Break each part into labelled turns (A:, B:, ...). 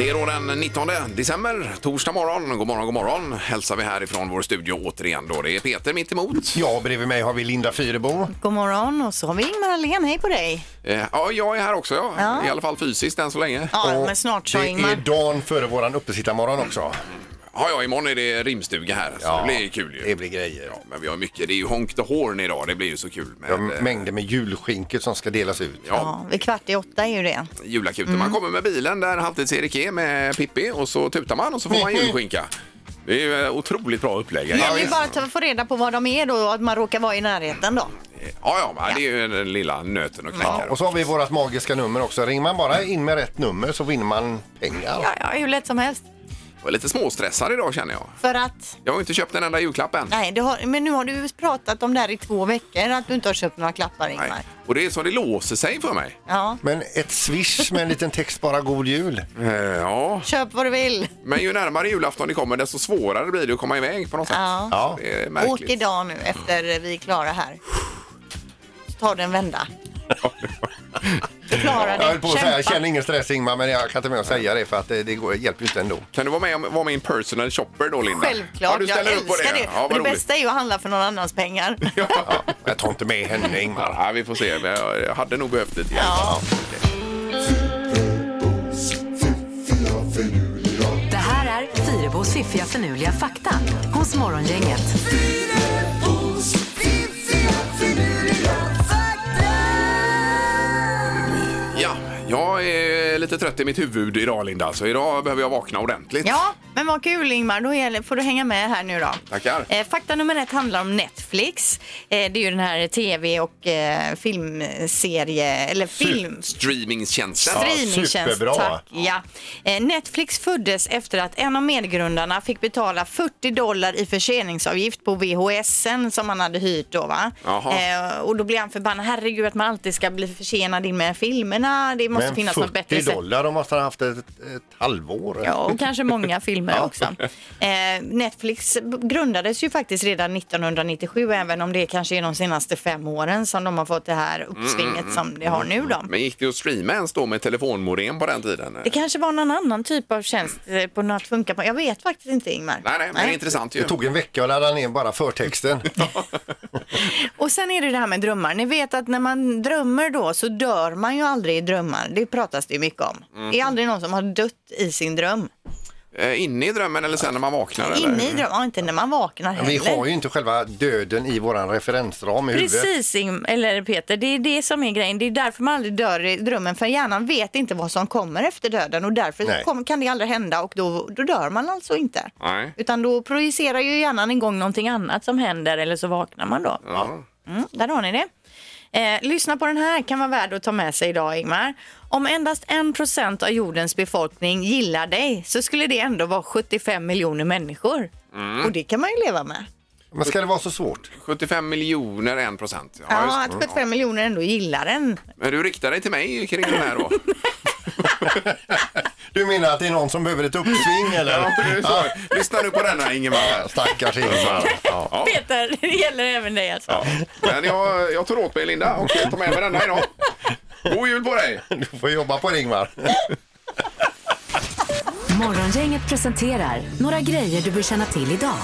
A: är då den 19 december, torsdag morgon. God morgon, god morgon. Hälsar vi härifrån vår studio återigen då. Det är Peter mitt emot.
B: Ja, bredvid mig har vi Linda Fyrebo.
C: God morgon och så har vi Ingmar Ahlén, hej på dig!
A: Eh, Ja, jag är här också ja.
C: Ja.
A: I alla fall fysiskt än så länge. Ja,
C: Ja,
B: Och
C: men snart så
B: Det är
C: Ingmar.
B: dagen före våran uppesittarmorgon också.
A: ja, imorgon är det rimstuga här. Så det blir kul ju.
B: Det blir grejer.
A: Ja, men vi har mycket. Det är ju Honk the Horn idag. Det blir ju så kul med
B: Ja,
A: eh,
B: mängder med julskinket som ska delas ut.
A: ja,
C: Ja, vid kvart i åtta är ju det.
A: julakuten. Man
C: Mm.
A: kommer med bilen där Halvtids-Erik är med Pippi och så tutar man och så får man julskinka. Det är ju eh, otroligt bra upplägg.
C: Det
A: Ja,
C: gäller ju bara att få reda på var de är då och att man råkar vara i närheten då.
A: ja, ja, det är ju den lilla nöten att knäcka.
B: Ja, och så har vi vårt magiska nummer också. Ringer man bara in med rätt nummer så vinner man pengar.
C: Ja, ja, hur lätt som helst.
A: Jag är lite småstressad idag känner jag.
C: För att,
A: Jag har ju inte köpt en enda julklapp än.
C: nej, du har, men nu har du ju pratat om det här i två veckor, att du inte har köpt några klappar Ingmar.
A: Nej. Och det är så det låser sig för mig.
C: Ja,
B: Men ett swish med en liten text bara god jul.
A: Eh, Ja.
C: köp vad du vill.
A: Men ju närmare julafton det kommer desto svårare blir det att komma iväg på något sätt.
C: Ja.
B: Ja.
A: Det är
C: Åk
A: märkligt.
C: idag nu efter vi är klara här. Så tar du en vända. Du klarar
B: Jag höll
C: det,
B: på att säga, jag
C: kämpa.
B: känner ingen stress Ingmar, men jag kan inte med att säga det för att det, det går, hjälper ju inte ändå.
A: Kan du vara med och vara min personal shopper då Linda?
C: Självklart,
A: du
C: jag
A: ställer upp på
C: älskar det.
A: Ja, vad
C: och det
A: roligt.
C: bästa är ju att handla för någon annans pengar.
A: Ja.
B: Jag tar inte med henne Ingmar.
A: Ja, vi får se. Men Jag jag hade nog behövt det.
C: Ja.
D: Det här är Fyrabos fiffiga förnuliga fakta hos Morgongänget.
A: Ja, jag är lite trött i mitt huvud idag Linda, så idag behöver jag vakna ordentligt.
C: Ja, men vad kul Ingmar, då gäller- får du hänga med här nu då.
A: Tackar.
C: Eh, fakta nummer ett handlar om Netflix. Eh, det är ju den här tv och eh, filmserie, eller film...
A: Streamingtjänsten.
B: Ja,
C: Streamingtjänst,
B: superbra.
C: tack. Ja. Eh, Netflix föddes efter att en av medgrundarna fick betala 40 dollar i förseningsavgift på VHSen som han hade hyrt då va.
A: Jaha.
C: Eh, och då blev han förbannad, herregud att man alltid ska bli försenad in med filmerna, det måste
B: Men
C: finnas något bättre
B: 40
C: sätt.
B: dollar, de måste ha haft ett, ett halvår.
C: Ja, och kanske många filmer också. Eh, Netflix b- grundades ju faktiskt redan 1997, även om det kanske är de senaste fem åren som de har fått det här
B: Mm,
C: uppsvinget som det har nu då.
A: Men gick det att streama ens då med telefonmodem på den tiden?
C: Det kanske var någon annan typ av tjänst eh, på något funkar på. Jag vet faktiskt inte Ingmar.
A: Nej, nej, men det är intressant ju.
B: Det tog en vecka att ladda ner bara förtexten.
C: Och sen är det det här med drömmar. Ni vet att när man drömmer då så dör man ju aldrig i drömmar. Det pratas det ju mycket om. Det är aldrig någon som har dött i sin dröm.
A: Eh, Inne i drömmen eller sen när man vaknar? eller?
C: Inne i drömmen, ja, inte när man vaknar heller.
B: Vi har ju inte själva döden i våran referensram i huvudet.
C: Precis, Ing- eller Peter. Det är det som är grejen. Det är därför man aldrig dör i drömmen. För hjärnan vet inte vad som kommer efter döden och därför
B: Nej.
C: kom, kan det aldrig hända och då, då dör man alltså inte.
A: Nej.
C: Utan då projicerar ju hjärnan igång någonting annat som händer eller så vaknar man då.
A: Ja.
C: Mm, där har ni det. Eh, lyssna på den här, kan vara värd att ta med sig idag Ingmar. Om endast 1% av jordens befolkning gillar dig så skulle det ändå vara 75 miljoner människor.
A: Mm.
C: Och det kan man ju leva med.
B: Men ska det vara så svårt?
A: 75 miljoner, 1 procent. Ja,
C: Ja,
A: just
C: att
A: det.
C: 75 miljoner ändå gillar en.
A: Men du riktar dig till mig kring den här då?
B: Du menar att det är någon som behöver ett uppsving eller?
A: Du, så, lyssna nu på denna Ingemar.
B: Stackars Ingmar. Ja.
A: Ja.
C: Peter, det gäller även dig alltså.
A: Ja. Men jag, jag tar åt mig Linda och jag tar med mig denna idag. God jul på dig!
B: Du får jobba på det Ingmar.
D: Morgongänget presenterar några grejer du bör känna till idag.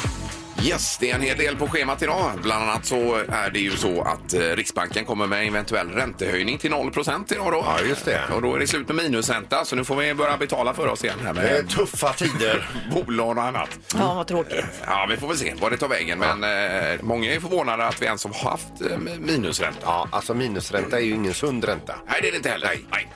A: Yes, det är en hel del på schemat idag. Bland annat så är det ju så att eh, Riksbanken kommer med en eventuell räntehöjning till 0 procent idag då.
B: Ja, just det.
A: Och då är det slut med minusränta så nu får vi börja betala för oss igen här
B: Det är
A: med
B: tuffa tider.
A: bolån och annat.
C: Ja, vad tråkigt.
A: Ja, vi får väl se vad det tar vägen. Men eh, många är förvånade att vi ens har haft eh, minusränta.
B: Ja, alltså minusränta är ju ingen sund ränta.
A: Nej, det är det inte heller. Nej.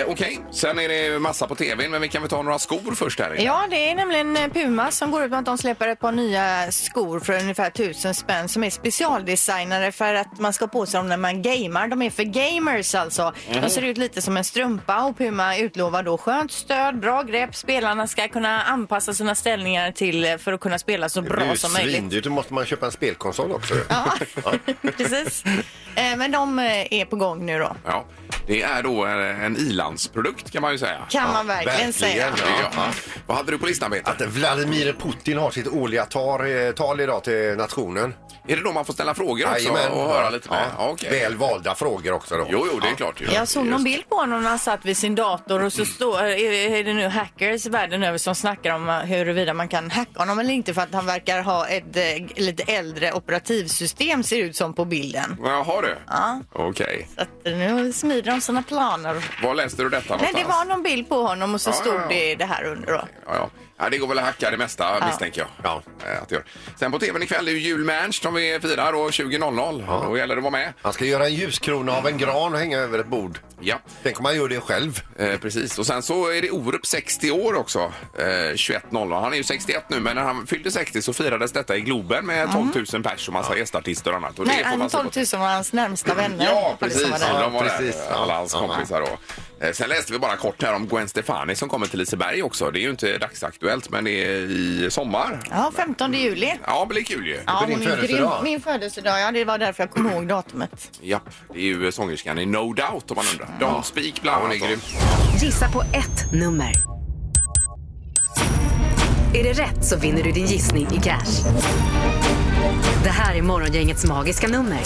A: Eh, Okej, sen är det ju massa på tvn, men vi kan väl ta några skor först här. inne.
C: Ja, det är nämligen eh, Puma som går ut med att de släpper ett par nya skor för ungefär 1000 spänn som är specialdesignade för att man ska ha på sig dem när man gamar. De är för gamers alltså.
B: Mhm.
C: De ser ut lite som en strumpa och Puma utlovar då skönt stöd, bra grepp. Spelarna ska kunna anpassa sina ställningar till eh, för att kunna spela så
B: Det är
C: bra
B: ju
C: som möjligt.
B: svindyrt. Då måste man köpa en spelkonsol också.
C: Ja, precis. Eh, Men de eh, är på gång nu då.
A: Ja, det är då eh, en ilandsprodukt kan man ju säga.
C: Kan man verkligen, säga.
B: verkligen.
A: Ja. Vad hade du på listan, Peter?
B: Att Vladimir Putin har sitt årliga tar, eh, tal idag till nationen.
A: Är det då man får ställa frågor också
B: Jajamän.
A: och höra lite mer?
B: Ja,
A: okej.
B: Väl valda frågor också då.
A: Jo, jo, det är klart. Ju.
C: Jag såg någon
A: Just-
C: bild på honom när han satt vid sin dator och så står, är är det nu hackers världen över som snackar om eh, huruvida man kan hacka honom eller inte för att han verkar ha ett eh, lite äldre operativsystem ser ut som på bilden.
A: Jaha du. Ja. Okej.
C: Så att nu smider de sina planer.
A: Var läste du detta
C: Nej,
A: någonstans?
C: det var någon bild på honom och så
A: Ja,
C: stod
A: ja, ja.
C: det det här under då.
A: Ja, ja. ja, det går väl att hacka det mesta misstänker jag.
B: Ja.
A: Eh, Att det gör. Sen på tvn ikväll är ju julmanch som vi firar då 20.00. Då gäller det att vara med.
B: Han ska göra en ljuskrona av en gran och hänga över ett bord.
A: Ja.
B: Tänk om han gör det själv.
A: Eh, precis. Och sen så är det Orup 60 år också. Eh, 21.00. Han är ju 61 nu men när han fyllde 60 så firades detta i Globen med 12 000 pers och massa gästartister och annat. Och
C: Mm. Nej,
A: det får
C: han
A: man se
C: 12
A: på
C: 000 var hans närmsta vänner.
A: Ja,
C: Alla som
A: precis.
C: var där.
A: Ja, de var
B: Precis.
A: Där, alla hans
B: Ja.
A: kompisar. Då. Eh, Sen läste vi bara kort här om Gwen Stefani som kommer till Liseberg också. Det är ju inte dagsaktuellt, men det är i sommar.
C: Ja, 15 juli.
A: Ja, men det är kul ju.
C: Ja,
B: på din
C: hon är grym.
B: födelsedag.
C: Min födelsedag, ja det var därför jag kom ihåg datumet.
A: Japp, det är ju eh, sångerskan i No Doubt om man undrar. Don't Speak bland
B: hon är
A: annat.
B: grym.
D: Gissa på ett nummer. Är det rätt så vinner du din gissning i cash. Det här är Morgongängets magiska nummer.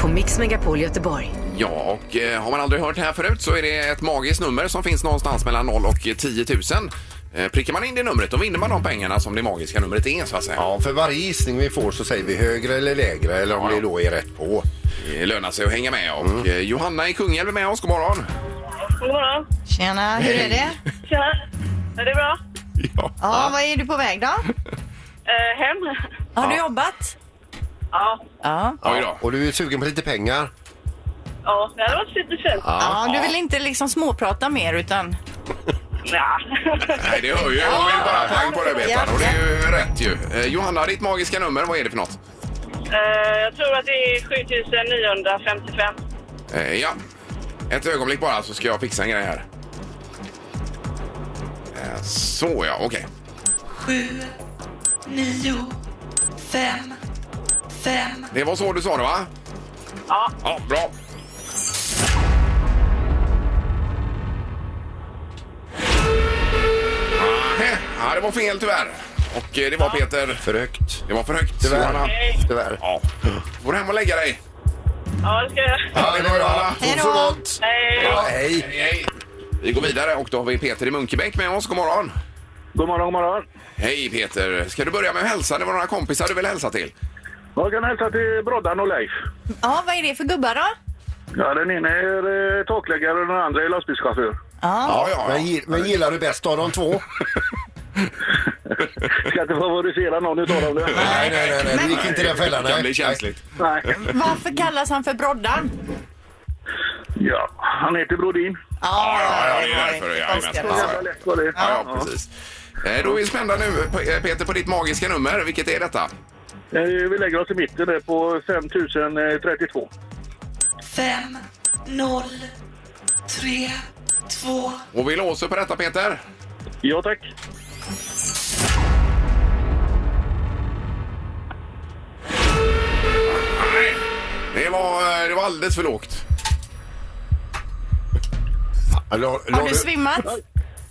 D: På Mix Megapol Göteborg.
A: Ja, och eh, har man aldrig hört det här förut så är det ett magiskt nummer som finns någonstans mellan 0 och 10 000. Eh, Prickar man in det numret då vinner man de pengarna som det magiska numret är så att säga.
B: Ja, för varje gissning vi får så säger vi högre eller lägre eller om
A: Ja, ja.
B: det då är rätt på.
A: Det lönar sig att hänga med och eh, Johanna i Kungälv är med oss. God morgon!
E: God morgon.
C: Tjena, hur är det?
E: Tjena. Är det bra?
A: Ja.
C: Ja, vad är du på väg då?
E: Eh, hem?
C: Har du jobbat?
E: Ja.
C: Ja.
A: Oj då.
B: Och du är sugen på lite pengar?
E: Ja, det hade varit lite fint.
C: Ja, du vill inte liksom småprata mer utan...
E: Nja.
A: Nej, det hör ju. Hon vill bara pang på rödbetan
C: Ja.
A: och det är ju rätt ju. Eh, Johanna, ditt magiska nummer, vad är det för något?
E: Eh, jag tror att det är 7955.
A: Eh, ja, ett ögonblick bara så ska jag fixa en grej här. Eh, så ja, okej.
F: 7, 9, 5, 5.
A: Det var så du sa det va?
E: Ja.
A: Ja, bra. Nähä, Ah, eh. Ja, det var fel tyvärr. Och eh, det var Peter.
B: För högt.
A: Det var för högt.
B: Tyvärr.
A: Johanna.
E: Hej.
B: Tyvärr.
A: Ja. Får du hem och lägga dig?
E: Ja, det ska jag göra.
B: Ja, det var bra.
C: Hej då.
B: Så gott.
E: Hej.
B: Ja, hej.
A: Hej, hej. Vi går vidare och då har vi Peter i Munkebäck med oss. God morgon!
G: God morgon, god morgon.
A: Hej Peter! Ska du börja med att hälsa? Det var några kompisar du vill hälsa till.
G: Jag kan hälsa till Broddan och Leif.
C: Ja, vad är det för gubbar då?
G: Ja, den ena är eh, takläggare och den andra är lastbilschaufför.
C: Ja.
B: Men, gi- men gillar du bäst av de två?
G: Ska inte favorisera någon utav dem. du.
B: Nej, nej, nej. nej. Du gick inte i den fällan.
A: Det kan
B: nej.
A: bli känsligt.
G: Nej.
C: Varför kallas han för Broddan?
G: Ja, han heter Brodin.
C: Ja,
A: ja, det är
C: var
A: därför,
C: inte
A: ja,
C: konstigt.
A: jajamän.
G: Jävla lätt var det.
A: Ja, ja, precis. Eh, Då är vi spända nu P- Peter på ditt magiska nummer. Vilket är detta?
G: Eh, Vi lägger oss i mitten där på eh, 5032.
F: 5, 0, 3, 2.
A: Och vi låser på detta Peter.
G: Ja, tack.
A: Nej, det var, eh, det var alldeles för lågt.
B: Ja, la- la
C: Har du svimmat?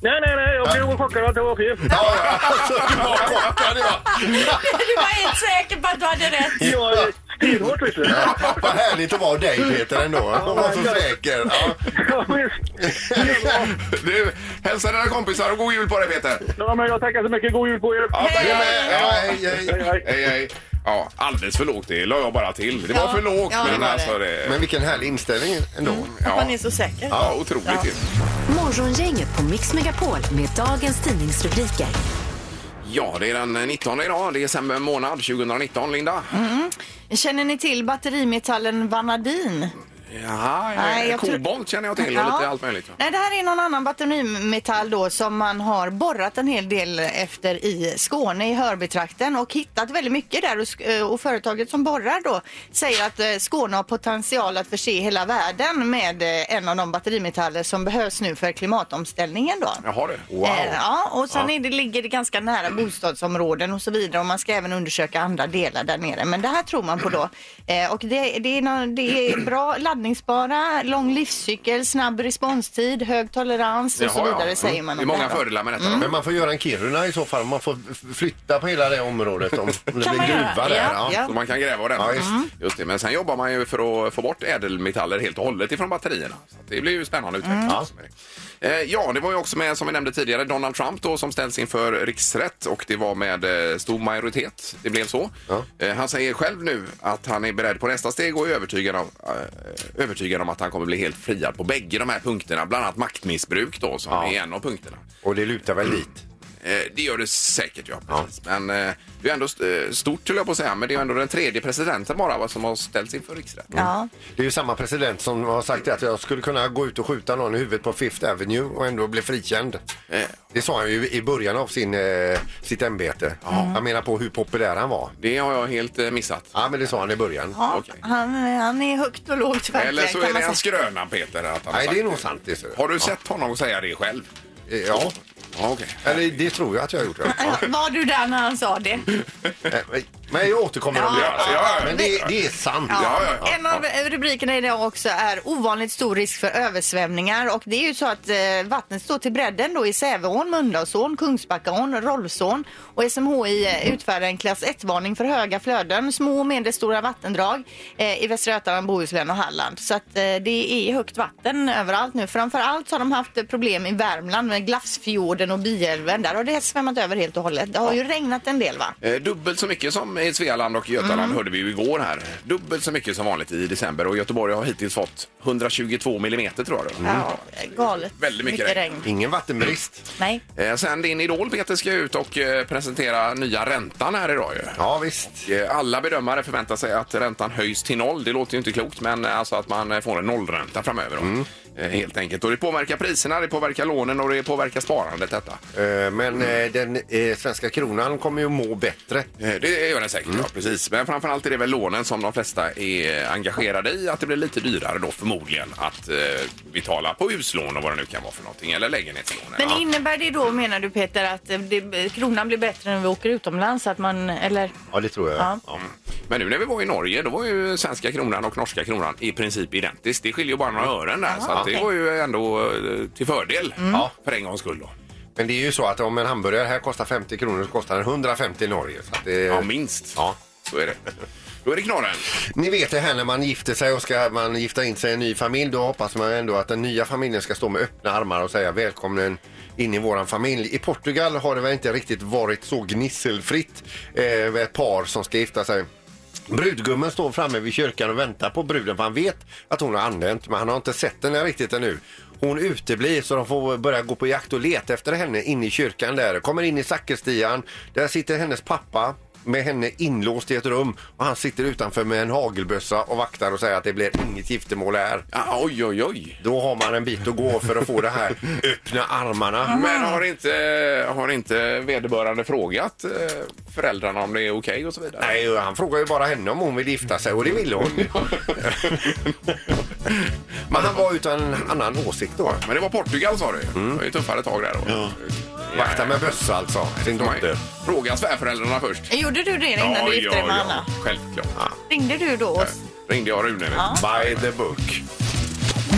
G: Nej, nej, nej. Jag blev chockad att det var fel.
B: Ja, ja. Alltså, du var chockad. ja.
C: Du var helt säker på att du hade rätt.
G: Jag är stenhårt, visst du.
B: Ja, Vad härligt att vara dig Peter ändå. Och var så
G: verkligen.
B: säker. Ja.
G: Ja, visst.
A: Du, hälsa dina kompisar och god jul på dig Peter.
G: Ja, men jag tackar så mycket. God jul på er.
A: Ja, tack.
B: Ja, men, ja, hej, hej.
G: Hej, hej.
A: Hej, hej. Ja, alldeles för lågt. Det la jag bara till. Det var
C: Ja,
A: för lågt.
C: ja, det
A: men
C: var det.
A: alltså det...
B: Men vilken härlig inställning ändå.
A: ja.
C: Man är så säker.
A: Ja, otroligt ju.
D: Morgongänget på Mix Megapol med dagens tidningsrubriker.
A: Ja, det är den 19 idag. Det är december månad 2019, Linda.
C: Känner ni till batterimetallen vanadin?
A: Jaha,
C: Nej, jag tror-
A: kobolt känner jag till och lite allt möjligt. Ja.
C: Nej, det här är någon annan batterimetall då som man har borrat en hel del efter i Skåne, i Hörbytrakten och hittat väldigt mycket där och, sk- eh, och företaget som borrar då säger att eh, Skåne har potential att förse hela världen med eh, en av de batterimetaller som behövs nu för klimatomställningen då.
A: Jaha du.
C: Eh, Ja, och sen Är det, ligger det ganska nära bostadsområden och så vidare och man ska även undersöka andra delar där nere. Men det här tror man på då. Eh, och det, det, är, någon, det är bra laddningsbara, lång livscykel, snabb responstid, hög tolerans och så
A: Jaha, ja.
C: vidare säger
A: Mm.
C: man.
A: Det är
C: om Mm.
A: många
C: här då.
A: fördelar med detta. då.
B: Men man får göra en Kiruna i så fall. Man får f- flytta på hela det området om det blir
C: man göra?
B: gruva där.
C: Ja, ja.
A: Så man kan gräva den.
B: Ja, visst.
A: Just det. Men sen jobbar man ju för att få bort ädelmetaller helt och hållet ifrån batterierna. Så att det blir ju spännande utveckling. Ja. Eh, Ja, det var ju också med, som vi nämnde tidigare, Donald Trump då som ställs inför riksrätt och det var med eh, stor majoritet. Det blev så. Eh, Han säger själv nu att han är beredd på nästa steg och är övertygad om, eh, övertygad om att han kommer bli helt friad på bägge de här punkterna. Bland annat maktmissbruk då, som är en av punkterna.
B: Och det lutar väl dit.
A: Eh, Det gör det säkert, ja. precis. Men eh, det är ändå st- eh, stort, höll jag på att säga, men det är ändå den tredje presidenten bara va, som har ställts inför riksrätt.
C: Ja.
B: Det är ju samma president som har sagt att jag skulle kunna gå ut och skjuta någon i huvudet på Fifth Avenue och ändå bli frikänd.
A: Eh.
B: Det sa han ju i början av sin, eh, sitt ämbete. Han menar på hur populär han var.
A: Det har jag helt eh, missat.
B: Ja, men det sa han i början.
C: Ja,
A: Okej.
C: han, han är högt och lågt verkligen.
A: Eller så
C: kan
A: är
C: man
A: det hans
C: säga.
A: skröna, Peter. Att han har
B: Nej,
A: sagt
B: det är nog sant. Det, ser jag.
A: Har du sett honom säga det själv?
B: Eh, Ja,
A: Ja, okej.
B: eller det tror jag att jag har gjort. Ja.
C: Ja, Var du där när han sa det?
B: Eh, men- Men jag återkommer om det.
A: Ja, ja, ja.
B: Men det, det är sant.
A: Ja, ja, ja.
C: En av rubrikerna idag också är ovanligt stor risk för översvämningar och det är ju så att eh, vattnet står till bredden då i Säveån, Mölndalsån, Kungsbackaån, Rollsån och SMHI eh, utfärdar en klass 1-varning för höga flöden, små och medelstora vattendrag eh, i Västra Götaland, Bohuslän och Halland. Så att eh, det är högt vatten överallt nu. Framför allt har de haft eh, problem i Värmland med Glafsfjorden och Biälven. Där har det svämmat över helt och hållet. Det har ju regnat en del va?
A: Eh, Dubbelt så mycket som i Svealand och Götaland
B: Mm.
A: hörde vi ju igår här. Dubbelt så mycket som vanligt i december och Göteborg har hittills fått 122 millimeter tror jag. det
B: Mm.
A: var.
C: Ja, galet.
A: Mm. Väldigt mycket regn.
B: Ingen vattenbrist.
C: Nej.
A: Eh, Sen din idol Peter ska ut och eh, presentera nya räntan här idag ju.
B: Ja, visst.
A: Eh, Alla bedömare förväntar sig att räntan höjs till noll. Det låter ju inte klokt, men eh, alltså att man eh, får en nollränta framöver. då. Eh, Helt enkelt. Och det påverkar priserna, det påverkar lånen och det påverkar sparandet detta.
B: Eh, Men eh, den eh, svenska kronan kommer ju må bättre.
A: Eh, Det gör den säkert, ja, precis. Men framförallt är det väl lånen som de flesta är eh, engagerade i. Att det blir lite dyrare då förmodligen att eh, betala på huslån och vad det nu kan vara för någonting. Eller lägenhetslån.
C: Men
A: ja.
C: innebär det då, menar du Peter, att eh, det, kronan blir bättre när vi åker utomlands? så Att man, eller?
B: Ja, det tror jag.
C: Ja.
A: Mm. Men nu när vi var i Norge, då var ju svenska kronan och norska kronan i princip identiskt. Det skiljer ju bara några ören där, så att det
C: okej.
A: var ju ändå eh, till fördel ja, för en gångs skull. Då.
B: Men det är ju så att om en hamburgare här kostar 50 kronor så kostar den 150 i Norge. Så att det,
A: Ja, minst.
B: Ja.
A: Så är det. Då är det knorren.
B: Ni vet det här när man gifter sig och ska man gifta in sig i en ny familj. Då hoppas man ändå att den nya familjen ska stå med öppna armar och säga välkommen in i våran familj. I Portugal har det väl inte riktigt varit så gnisselfritt eh, med ett par som ska gifta sig. Brudgummen står framme vid kyrkan och väntar på bruden för han vet att hon har anlänt men han har inte sett henne riktigt ännu. Hon uteblir så de får börja gå på jakt och leta efter henne inne i kyrkan där. Kommer in i sakristian, där sitter hennes pappa med henne inlåst i ett rum och han sitter utanför med en hagelbössa och vaktar och säger att det blir inget giftermål här.
A: Ah, oj, oj, oj.
B: Då har man en bit att gå för att få det här öppna armarna.
A: Men har inte, har inte vederbörande frågat eh, föräldrarna om det är okej och så vidare?
B: Nej, han frågar ju bara henne om hon vill gifta sig och det ville hon. Men han var utan en annan åsikt då.
A: Men det var Portugal sa du ju. Det var ju tuffare tag där då. Ja.
B: Vakta med bössa alltså, sin
A: Får man ju
B: dotter.
A: Fråga svärföräldrarna först.
C: Gjorde du det innan du gifte dig med Anna?
A: Självklart.
C: Ringde du då?
A: Eh, Ringde jag Rune nu?
B: By the book.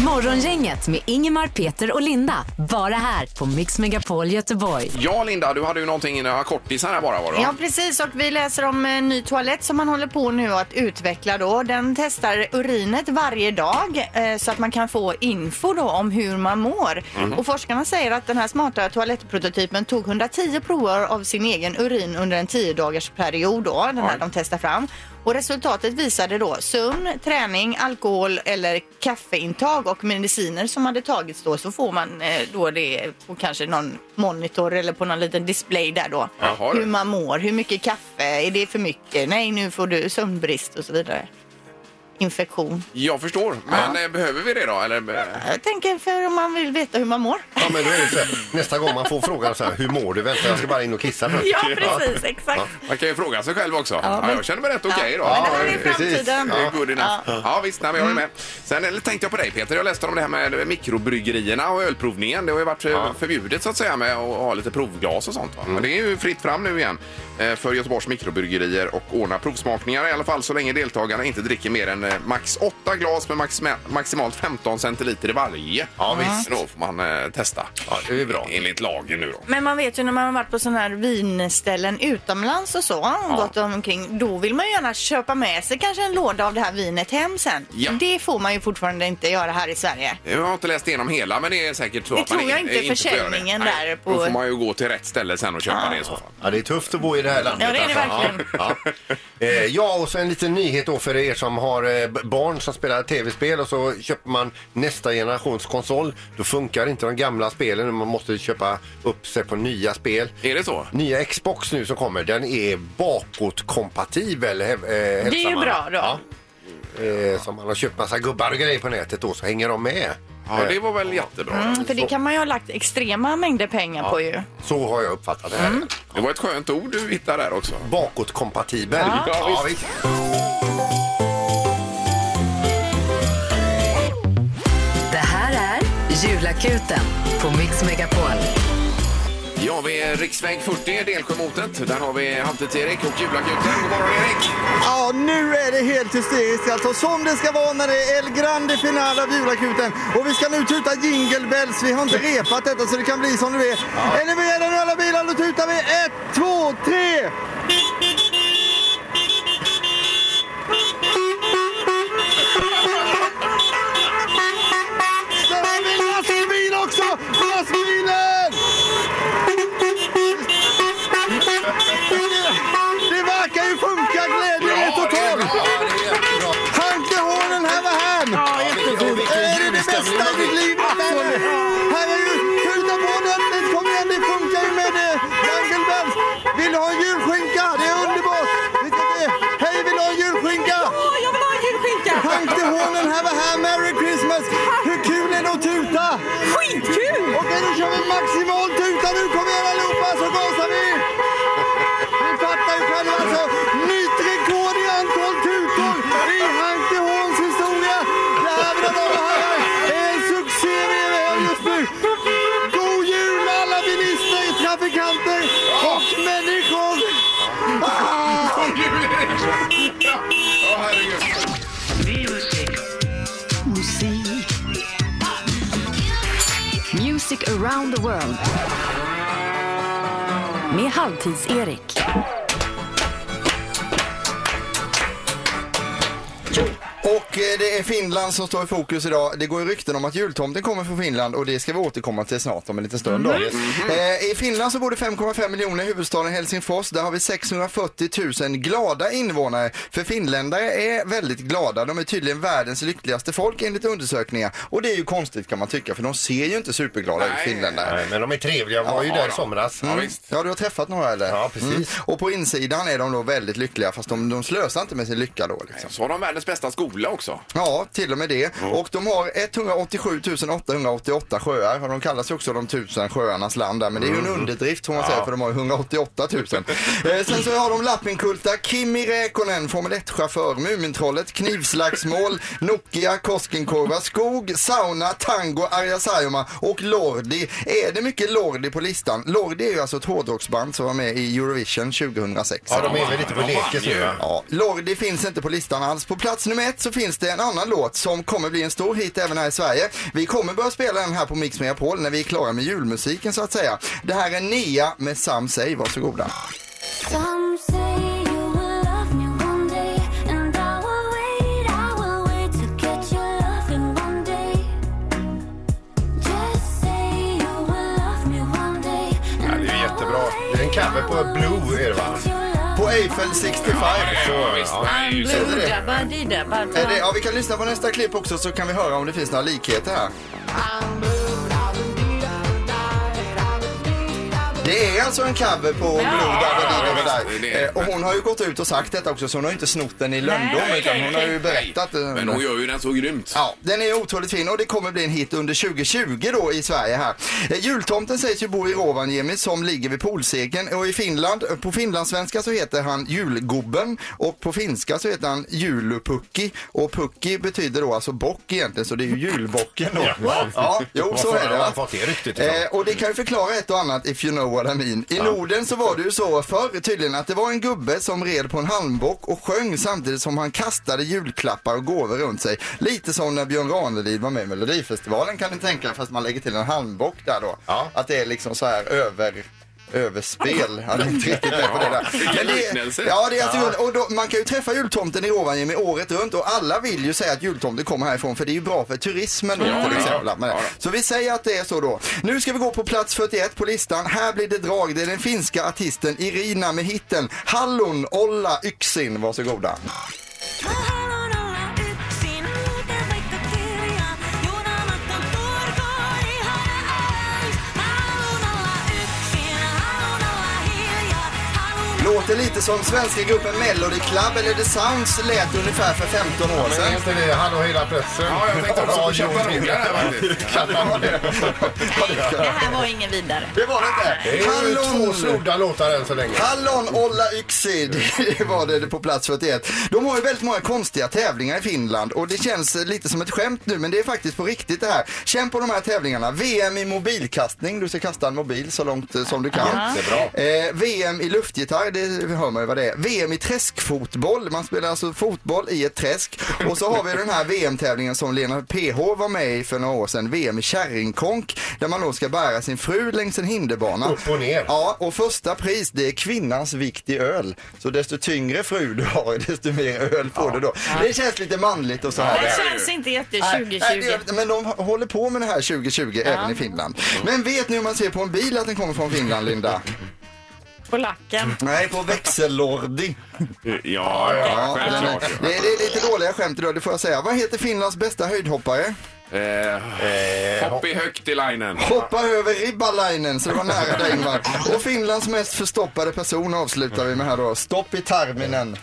D: Morgongänget med Ingemar, Peter och Linda. Bara här på Mix Megapol Göteborg.
A: Ja, Linda, du hade ju någonting i några kortisar här bara var det va?
C: Ja, precis. Och vi läser om en ny toalett som man håller på nu att utveckla. Då. Den testar urinet varje dag eh, så att man kan få info då om hur man mår. Och forskarna säger att den här smarta toalettprototypen tog 110 prover av sin egen urin under en 10 dagars period. Då, den här
A: Oj.
C: de testar fram. Och resultatet visade då sömn, träning, alkohol eller kaffeintag och mediciner som hade tagits då så får man eh, då det på kanske någon monitor eller på någon liten display där då
A: Jaha, du.
C: hur man mår, hur mycket kaffe, är det för mycket? Nej, nu får du sömnbrist och så vidare. Infektion.
A: Jag förstår, men eh, behöver vi det då? Eller, eh,
C: Jag tänker för om man vill veta hur man mår.
B: Ja, men då är det så här, nästa gång man får frågan så här, hur mår du? Vänta, jag ska bara in och kissa först.
C: Ja, precis, exakt.
A: man kan ju fråga sig själv också. Ja,
C: men-
A: jag känner mig rätt okej
C: Ja,
A: då.
C: men det här är
A: Ja,
B: precis.
C: framtiden.
A: Det är good enough. Ja, visst, nej, men jag är med. Sen eller, tänkte jag på dig Peter, jag läste om det här med mikrobryggerierna och ölprovningen. Det har ju varit eh, förbjudet så att säga med att ha lite provglas och sånt. Va? Men det är ju fritt fram nu igen eh, för Göteborgs mikrobryggerier och ordna provsmakningar i alla fall så länge deltagarna inte dricker mer än eh, max 8 glas med maxima- maximalt 15 centiliter i varje. Ja, visst. Då får man eh, testa. Ja, det är bra. Enligt lagen nu då.
C: Men man vet ju när man har varit på sådana här vinställen utomlands och så, och gått omkring, då vill man ju gärna köpa med sig kanske en låda av det här vinet hem sen.
A: Ja.
C: Det får man ju fortfarande inte göra här i Sverige.
A: Jag har inte läst igenom hela, men det är säkert så
C: Det
A: att man
C: tror jag
A: in-
C: inte
A: får göra det.
C: försäljningen
A: Nej,
C: där
A: Då
C: på-
A: får man ju gå till rätt ställe sen och köpa det i så fall.
B: Ja, det är tufft att bo i det här landet. alltså.
C: Ja, det är det verkligen.
B: Ja, ja. Eh, ja, och så en liten nyhet då för er som har eh, b- barn som spelar tv-spel och så köper man nästa generations konsol. Då funkar inte de gamla spelen, man måste köpa upp sig på nya spel.
A: Är det så?
B: Nya Xbox nu som kommer, den är bakåtkompatibel. Eh, det
C: Det är ju bra då.
B: Ja. Eh, som man har köpt massa gubbar och grejer på nätet då så hänger de med.
A: Ja, det var väl jättebra.
C: Mm, för det kan man ju ha lagt extrema mängder pengar på ju.
B: Så har jag uppfattat det här.
C: Mm.
A: Det var ett skönt ord du hittade där också.
B: Bakåtkompatibel.
A: Ja. Ja,
B: visst.
D: Det här är Julakuten på Mix Megapol.
A: Ja, vi är riksväg 40, Delsjömotet. Där har vi Halvtids-Erik och Julakuten. God morgon, Erik!
H: Ja, nu är det helt hysteriskt alltså. Som det ska vara när det är El Grande Finale av julakuten. Och vi ska nu tuta jingle bells. Vi har inte repat detta så det kan bli som det är. Är ni beredda nu alla bilar? Då tutar vi. Ett, två, tre! Där har vi en lastbil också! Lastbilen! Det verkar ju funka! Glädjen är total! Tankehåren här var han! Är det det bästa i ditt liv? Danne? Här är ju skjuta på ordentligt! Kom igen, det funkar ju med eh, Jungle Bells! Vill du ha en julskinka? Det är underbart! Vi ska se. Hej, vill du ha en julskinka?
F: jag vill ha en julskinka!
H: Tankehåren här var här, Merry Christmas! Hur kul är det att tuta?
F: Skitkul!
H: Okej, nu kör vi maximal tuta nu. Kom igen allihopa så gasar vi! Ni fattar ju själva alltså. Nytt rekord i antal tutor i Hanke Horns historia. Det här mina damer och herrar är en succé vi är med om just nu. God jul alla bilister, trafikanter och människor. Ah!
A: God jul, Erik! Ja, herregud.
D: Music around the world. Med Halvtids-Erik.
H: Och eh, det är Finland som står i fokus idag. Det går ju rykten om att jultomten kommer från Finland och det ska vi återkomma till snart om en liten stund. Då.
C: Mm.
H: Eh, I Finland så bor det 5,5 miljoner i huvudstaden Helsingfors. Där har vi 640 000 glada invånare. För finländare är väldigt glada. De är tydligen världens lyckligaste folk enligt undersökningar. Och det är ju konstigt kan man tycka för de ser ju inte superglada
A: Nej.
H: ut finländare.
B: Nej, men de är trevliga. De var ju
A: Ja,
B: där
A: då.
B: i somras.
H: Mm.
A: Ja, visst.
H: Ja, du har träffat några eller? Mm.
B: Ja, precis.
H: Och på insidan är de då väldigt lyckliga fast de, de slösar inte med sin lycka då. Liksom.
A: Så har de världens bästa skola också.
H: Ja, till och med det. Och de har 187 888 sjöar. Och de kallas ju också de tusen sjöarnas land där. Men det är ju en underdrift får man säga för de har ju 188 000. eh, sen så har de Lappinkulta, Kimi Räkonen, Formel 1-chaufför, Mumintrollet, Knivslagsmål, Nokia, Koskenkorva, Skog, Sauna, Tango, Arja Saijonmaa och Lordi. Är det mycket Lordi på listan? Lordi är ju alltså ett hårdrocksband som var med i Eurovision 2006.
B: Ja, de är väl lite på lekis nu. va?
H: Ja, Lordi finns inte på listan alls. På plats nummer ett så finns det en annan låt som kommer bli en stor hit även här i Sverige. Vi kommer börja spela den här på Mix Megapol när vi är klara med julmusiken så att säga. Det här är Nia med Sam Say, varsågoda.
I: Some say you will love me one day, and I will wait, I will wait to get your love in one day. Just say you will love me one day.
B: Ja, det är ju jättebra. Det är en cover på Blue, är det va?
H: På Eiffel 65.
B: Så, ja.
H: det.
C: Blue-dabba-didabba-da.
H: Är det, ja, vi kan lyssna på nästa klipp också så kan vi höra om det finns några likheter här. Det är alltså en cover på Blue Dabba Dee
A: ja,
H: Dabba
A: visst, det är
H: Dee.
A: det.
H: Eh, Och hon har ju gått ut och sagt detta också så hon har ju inte snott den i lönndom utan hon har ju berättat. eh,
A: Men hon gör ju den så grymt.
H: Ja, den är otroligt fin och det kommer bli en hit under 2020 då i Sverige här. Eh, Jultomten sägs ju bo i Rovaniemi som ligger vid polcirkeln och i Finland, eh, på finlandssvenska så heter han julgubben och på finska så heter han julupukki och pucki betyder då alltså bock egentligen så det är ju julbocken då.
B: Ja.
H: ja jo så
B: Varför
H: är det.
B: har
H: va?
B: han fått det ryktet ifrån?
H: Eh, och det kan ju förklara ett och annat if you know Moa Damin. I Norden så var det ju så förr tydligen att det var en gubbe som red på en halmbock och sjöng samtidigt som han kastade julklappar och gåvor runt sig. Lite som när Björn Ranelid var med i Melodifestivalen kan ni tänka er, fast man lägger till en halmbock där då.
B: Ja.
H: Att det är liksom så här över överspel. Han är inte riktigt med på det där. Men
A: liknelse.
H: det, ja, det är alltså, och då, man kan ju träffa jultomten i Rovaniemi året runt och alla vill ju säga att jultomten kommer härifrån för det är ju bra för turismen då,
A: Ja,
H: till
A: ja,
H: exempel.
A: ja.
H: Men,
A: Ja, ja.
H: Så vi säger att det är så då. Nu ska vi gå på plats 41 på listan. Här blir det drag. Det är den finska artisten Irina med hitten Hallon olla yksin. Varsågoda.
I: Mä haluan olla yksin, lukea vaikka kirjaa. Junamatka on Turkuun ihana ajatus. Mä haluan olla yksin, haluan olla hiljaa. Haluan
H: Låter lite som svenska gruppen Melody Club eller The Sounds lät ungefär för 15 år
B: Men är
H: sedan.
B: inte det Hallå hela pressen?
A: Ja, jag tänkte också på
B: Radio-
A: champagne där faktiskt.
C: Nej, det här var ingen vidare.
H: Det var det
B: Det
H: inte.
B: är ju två
H: Hallon
B: snodda låtar än så länge.
H: Hallon Olla Yksi, det var det på plats 41. De har ju väldigt många konstiga tävlingar i Finland och det känns eh, lite som ett skämt nu men det är faktiskt på riktigt det här. Känn på de här tävlingarna. VM i mobilkastning, du ska kasta en mobil så långt eh, som du kan.
B: Jättebra.
H: Eh, VM i luftgitarr, det hör man ju vad det är. VM i träskfotboll, man spelar alltså fotboll i ett träsk. Och så har vi den här VM-tävlingen som Lena PH var med i för några år sedan, VM i kärringkonk, där man då ska bära sin fru längs en hinderbana.
B: Upp och ner.
H: Ja, och första pris det är kvinnans vikt i öl. Så desto tyngre fru du har, desto mer öl får du då. Det känns lite manligt och så här.
C: Det känns inte jätte
H: Nej,
C: 2020.
H: nej, det gör det inte. men de håller på med det här 2020 även i Finland. Men vet ni hur man ser på en bil att den kommer från Finland, Linda?
C: Polacken.
H: Nej, på växellordi.
A: Ja, ja,
H: Ja, den är,
A: självklart.
H: det, är, det är lite dåliga skämt idag, det får jag säga. Vad heter Finlands bästa höjdhoppare?
A: Eh, Hopp i högt i linen.
H: Hoppa över Ribbalainen, så det var nära dig Ingvar. Och Finlands mest förstoppade person avslutar vi med här då. Stopp i tarminen.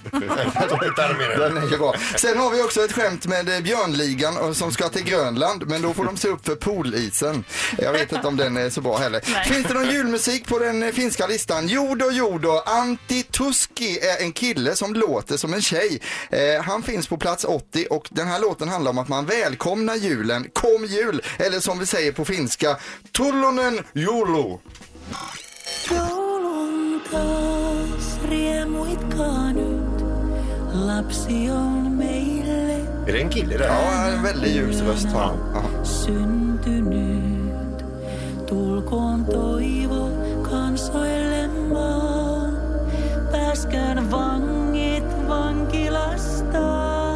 H: Den är ju bra. Sen har vi också ett skämt med eh, Björnligan och- som ska till Grönland, men då får de se upp för poolisen. Jag vet inte om den är så bra heller. Finns det någon julmusik på den eh, finska listan? Jodo, jodo, Antti Tuski är en kille som låter som en tjej. Eh, han finns på plats 80 och den här låten handlar om att man välkomnar julen. Kom jul! Eller som vi säger på finska, Tullonen joulu.
I: Joulun taas riemuitkaa nyt. Lapsi on meille
B: Är det en kille där?
H: Ja, en väldigt ljus röst har han. Ja.
I: syntynyt. Tulkoon toivo kansoille maan. Pääskään vangit vankilastaan.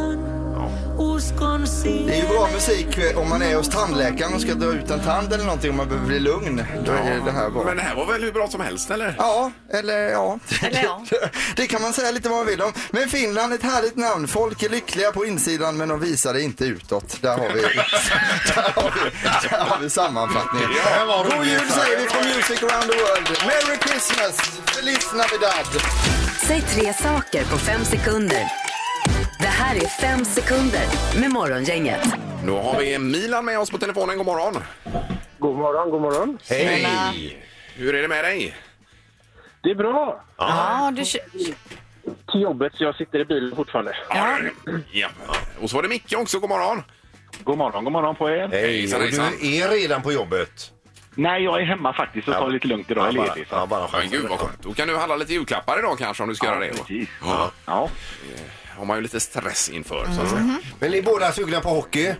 I: Uskon
H: Det är ju
I: siihen.
H: bra musik eh, om man är hos tandläkaren och ska dra ut en tand eller någonting om man behöver bli lugn. Då är det här bra.
A: Men det här var väl hur bra som helst eller?
H: Ja, eller ja.
C: Eller ja.
H: Det kan man säga lite vad man vill om. Men Finland, ett härligt namn. Folk är lyckliga på insidan men de visar det inte utåt. Där har vi, där har vi, där har vi sammanfattningen.
B: Det här var
H: God jul
B: roligt.
H: säger vi från Music around the world. Merry Christmas! Feliz Navidad!
D: Säg tre saker på fem sekunder. Det här är fem sekunder med Morgongänget.
A: Nu har vi Milan med oss på telefonen. God morgon!
G: God morgon, god morgon.
B: Hej!
A: Hur är det med dig?
G: Det är bra.
C: Ja, du, kö-
G: Till jobbet, så jag sitter i bilen fortfarande.
A: Ja. Och så var det Micke också. God morgon!
G: God morgon, god morgon på er.
B: Hej!
A: Hejsan,
B: Och
A: hejsan.
B: du är redan på jobbet?
G: Nej, jag är hemma faktiskt och tar det lite lugnt idag. Jag är
B: bara,
G: ledig. så-
B: ja, bara
A: Ja, gud vad skönt. Då kan du handla lite julklappar idag kanske om du ska göra det. Då. Eh,
G: Precis. Ja.
A: har man ju lite stress inför så att säga.
B: Men ni är båda sugna på hockey?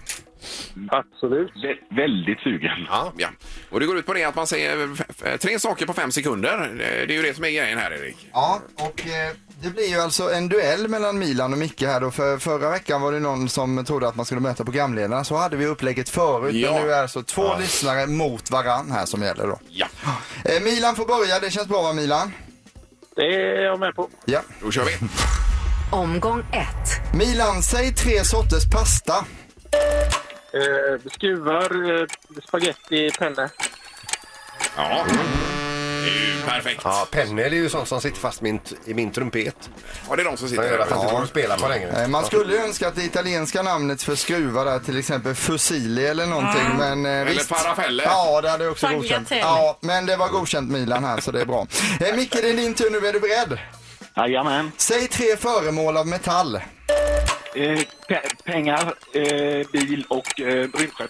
G: Absolut. Vä- väldigt sugen.
A: Ja. Och det går ut på det att man säger f- f- tre saker på fem sekunder. Eh, Det är ju det som är grejen här Erik.
H: Ja, och eh, det blir ju alltså en duell mellan Milan och Micke här då. För förra veckan var det någon som trodde att man skulle möta programledarna. Så hade vi upplägget förut.
A: Ja.
H: Men nu är det alltså två lyssnare mot varann här som gäller då.
A: Ja,
H: Eh, Milan får börja, det känns bra va Milan?
G: Det är jag med på.
H: Ja.
A: då kör vi.
D: Omgång ett.
H: Milan, säg tre sorters pasta.
G: Eh, skruvar, eh, spaghetti, penne.
A: Ja. Det är ju perfekt.
B: Ja, pennel är ju sånt som sitter fast min, i min trumpet.
A: Ja, det är de som sitter
B: Det gör
A: där.
B: att det inte går att spela på längre.
H: Eh, man skulle ju önska att det italienska namnet för skruvar där till exempel fusilli eller någonting. Men, eh,
A: Eller
H: visst.
A: farafelle.
H: Ja, det hade jag också
C: Tagliatelle.
H: godkänt. Ja, men det var godkänt Milan här så det är bra. Eh, Micke, det är din tur nu. Är du beredd?
G: Jajamän.
H: Säg tre föremål av metall.
G: Eh, pe- pengar, eh, bil och eh, rymdskepp.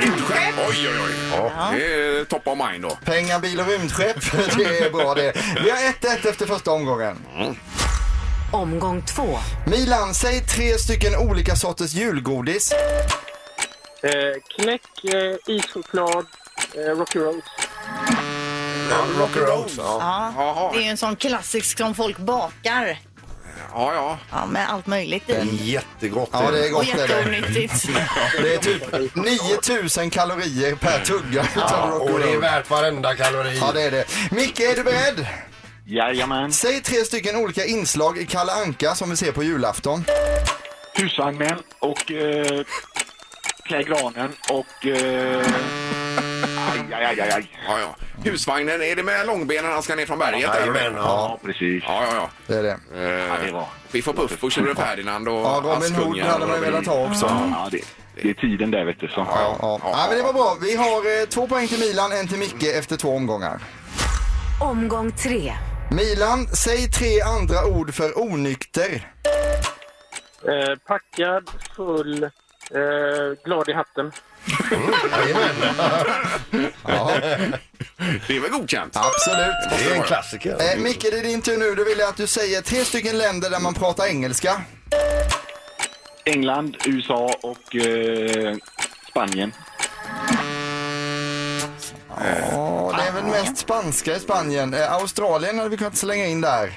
A: Rymdskepp! Oj, oj, oj. Det är top of mind då.
H: Pengar, bil och rymdskepp. Det är bra det. Vi har 1-1 efter första omgången.
D: Omgång två.
H: Milan, säg tre stycken olika sorters julgodis.
E: Eh, knäck, eh, ischoklad, eh, Rocky Road.
H: Rocky Roads.
A: Jaha.
C: Det är ju en sån klassisk som folk bakar.
A: Ja, ja.
C: Ja, med allt möjligt
B: Mm.
C: i.
B: Jättegott.
H: Ja, det är
C: Och
H: gott det. är det.
C: jätteonyttigt.
H: Det är typ 9000 kalorier per tugga utav Rocky
B: Och det är
H: Road.
B: värt varenda kalori.
H: Ja, det är det. Micke, är du beredd?
G: Jajamän.
H: Säg tre stycken olika inslag i Kalle Anka som vi ser på julafton.
G: Husvagnen och eh, klä granen och... Eh, aj, aj, aj, aj, aj.
A: ja, ja. Husvagnen, är det med långbenen han ska ner från berget? eller?
B: Jajamän, ja.
G: Ja, precis.
A: Ja, ja, ja.
H: Det är det.
G: Ja, det var.
A: Piff och Eh, Puff och Tjure Ferdinand och
H: Ja, Robin Hood
A: Askungen
H: hade
A: och
H: man ju
A: Robin-
H: velat ha också.
G: Ja, det, det är tiden där, vet du. Så.
H: Ja, ja. ja, men det var bra. Vi har eh, två poäng till Milan, en till Micke efter två omgångar.
D: Omgång tre.
H: Milan, säg tre andra ord för onykter.
E: Eh, packad, full, eh, glad i hatten.
A: Det är väl godkänt?
H: Absolut.
B: Det är en klassiker.
H: Eh, Micke, det är din tur nu. Då vill jag att du säger tre stycken länder där man pratar engelska.
G: England, USA och eh, Spanien.
H: Ja, det är väl mest spanska i Spanien. Eh, Australien hade vi kunnat slänga in där.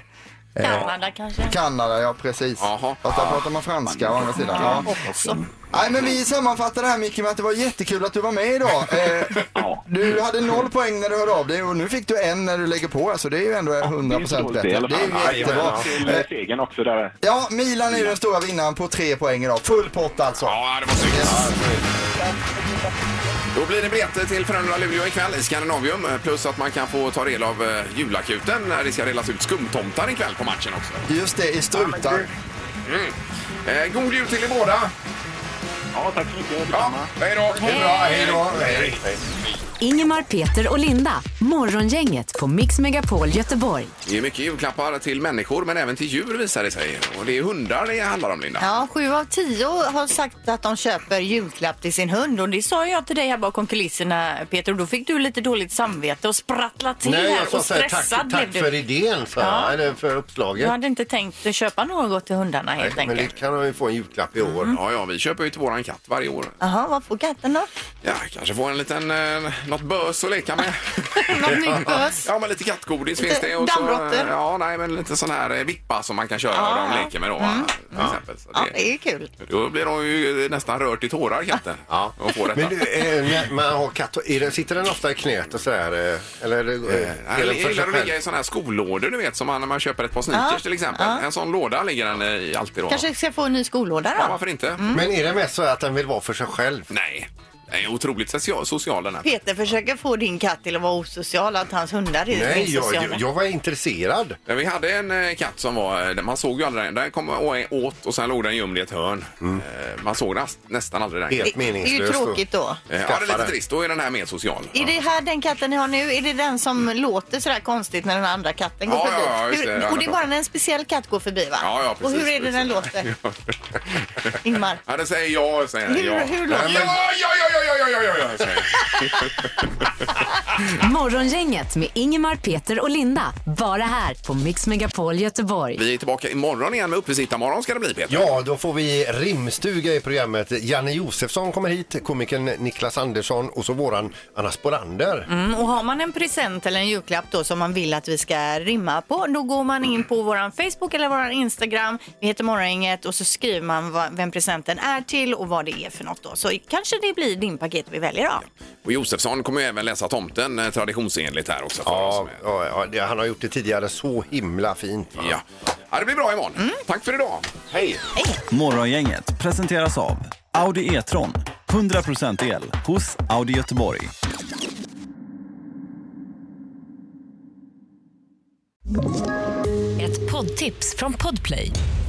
C: Kanada kanske.
H: Kanada, ja precis.
A: Jaha.
H: Fast där pratar man franska å andra sidan. Ja.
C: Också.
H: Nej, men vi sammanfattar det här Micke med att det var jättekul att du var med idag. Eh,
G: Ja.
H: Du hade noll poäng när du hörde av dig och nu fick du en när du lägger på. Så det är ju ändå 100%
G: Det är inte
H: bättre.
G: dåligt
H: Det
G: i alla
H: är
G: fall.
H: ju jättebra.
G: Till eh, segern också där.
H: Ja, Milan är ju den stora vinnaren på tre poäng idag. Full pott alltså.
A: Ja, det var snyggt. Då blir det biljetter till Frölunda-Luleå ikväll i Scandinavium. eh, Plus att man kan få ta del av eh, julakuten när det ska delas ut skumtomtar ikväll på matchen också.
H: Just det, i strutar.
G: Mm.
A: Eh, god jul till er båda!
G: Ja, tack så mycket.
A: Ja, hej då! Hej då!
D: Ingemar, Peter och Linda. Morgongänget på Mix Megapol Göteborg.
A: Det är mycket julklappar till människor men även till djur visar det sig. Och det är hundar det handlar om, Linda.
C: Ja, sju av tio har sagt att de köper julklapp till sin hund och det sa jag till dig här bakom kulisserna Peter och då fick du lite dåligt samvete och sprattla till
B: Nej,
C: här
B: jag sa
C: och
B: så här,
C: stressad
B: tack, tack
C: blev
B: för
C: du.
B: idén, så,
C: Ja.
B: eller för uppslaget.
C: Du hade inte tänkt köpa något till hundarna helt
B: Men det
C: enkelt.
B: kan han ju få en julklapp i
C: Mm.
B: år.
A: Ja, ja, vi köper ju till våran katt varje år.
C: Jaha, vad får katten då?
A: Ja, kanske få en liten, eh, något bös att leka med.
C: Någon ny bös?
A: Ja, men lite kattgodis
C: Lite
A: finns det. Och så,
C: dammråttor.
A: ja, nej, men lite sån här eh, vippa som man kan köra
C: Ja,
A: och de
C: ja.
A: leker med då. Till exempel. Så
C: Mm. Ja,
A: det,
C: det är ju kul.
A: Då blir de ju nästan rört i tårar, katten.
B: Ja.
A: Och får detta.
B: Men du, eh, när man har katt, är den, sitter den ofta i knät och sådär? eh, Eller är det, eh,
A: Nej,
B: är
A: jag
B: den för sig
A: gillar att ligga i
B: själv?
A: såna här skolådor, du vet, som man, när man köper ett par sneakers till exempel. En sån låda ligger den i alltid då.
C: Kanske Mm. ska få en ny skolåda
A: Ja,
C: då?
A: varför inte?
B: Men är det mest så att den vill vara för sig
C: Mm.
B: själv?
A: Nej, den är otroligt social, social den här.
C: Peter försöker få din katt till att vara osocial, att hans hundar är
B: Nej, jag,
C: sociala.
B: jag, jag var intresserad.
A: Men Vi hade en eh, katt som var, eh, man såg ju aldrig den. Den kom och åt och sen låg den gömd i ett hörn. Eh, Man såg nas- nästan aldrig den.
B: Mm. Helt
C: Det är ju
B: meningslöst.
C: tråkigt då.
A: Eh, Ja, det är lite trist. Då är den här mer social.
C: Är det här den katten ni har nu? Är det den som låter sådär konstigt när den andra katten går
A: Mm. Ja,
C: förbi?
A: ja, ja, just det.
C: Hur,
A: Ja,
C: och det är
A: ja.
C: bara när en speciell katt går förbi va?
A: Ja, ja, precis,
C: och hur är det den låter? Ingmar?
A: Ja, den säger ja, säger den.
C: Hur-
A: ja.
C: hur
A: ja,
C: låter den?
A: ja, ja, ja, ja, ja, ja, ja, säger den.
D: Morgongänget med Ingemar, Peter och Linda. Bara här på Mix Megapol Göteborg.
A: Vi är tillbaka imorgon igen med uppesittarmorgon ska det bli, Peter.
B: Ja, då får vi rimstuga i programmet. Janne Josefsson kommer hit, komikern Niklas Andersson och så våran Anna Sporander.
C: Mm, och har man en present eller en julklapp då som man vill att vi ska rimma på, då går man in på våran Facebook eller våran Instagram. Vi heter Morgongänget och så skriver man vad, vem presenten är till och vad det är för något då. Så kanske det blir din paket vi väljer då.
A: Och Josefsson kommer ju även läsa tomten eh, traditionsenligt här också. För oss
B: Ja,
A: med.
B: ja, ja, det- han har gjort det tidigare så himla fint. va?
A: Ja. ja, det blir bra imorgon.
C: Mm.
A: Tack för idag. Hej!
J: Morgongänget presenteras av Audi E-tron. 100% el hos Audi Göteborg.
K: Ett poddtips från Podplay.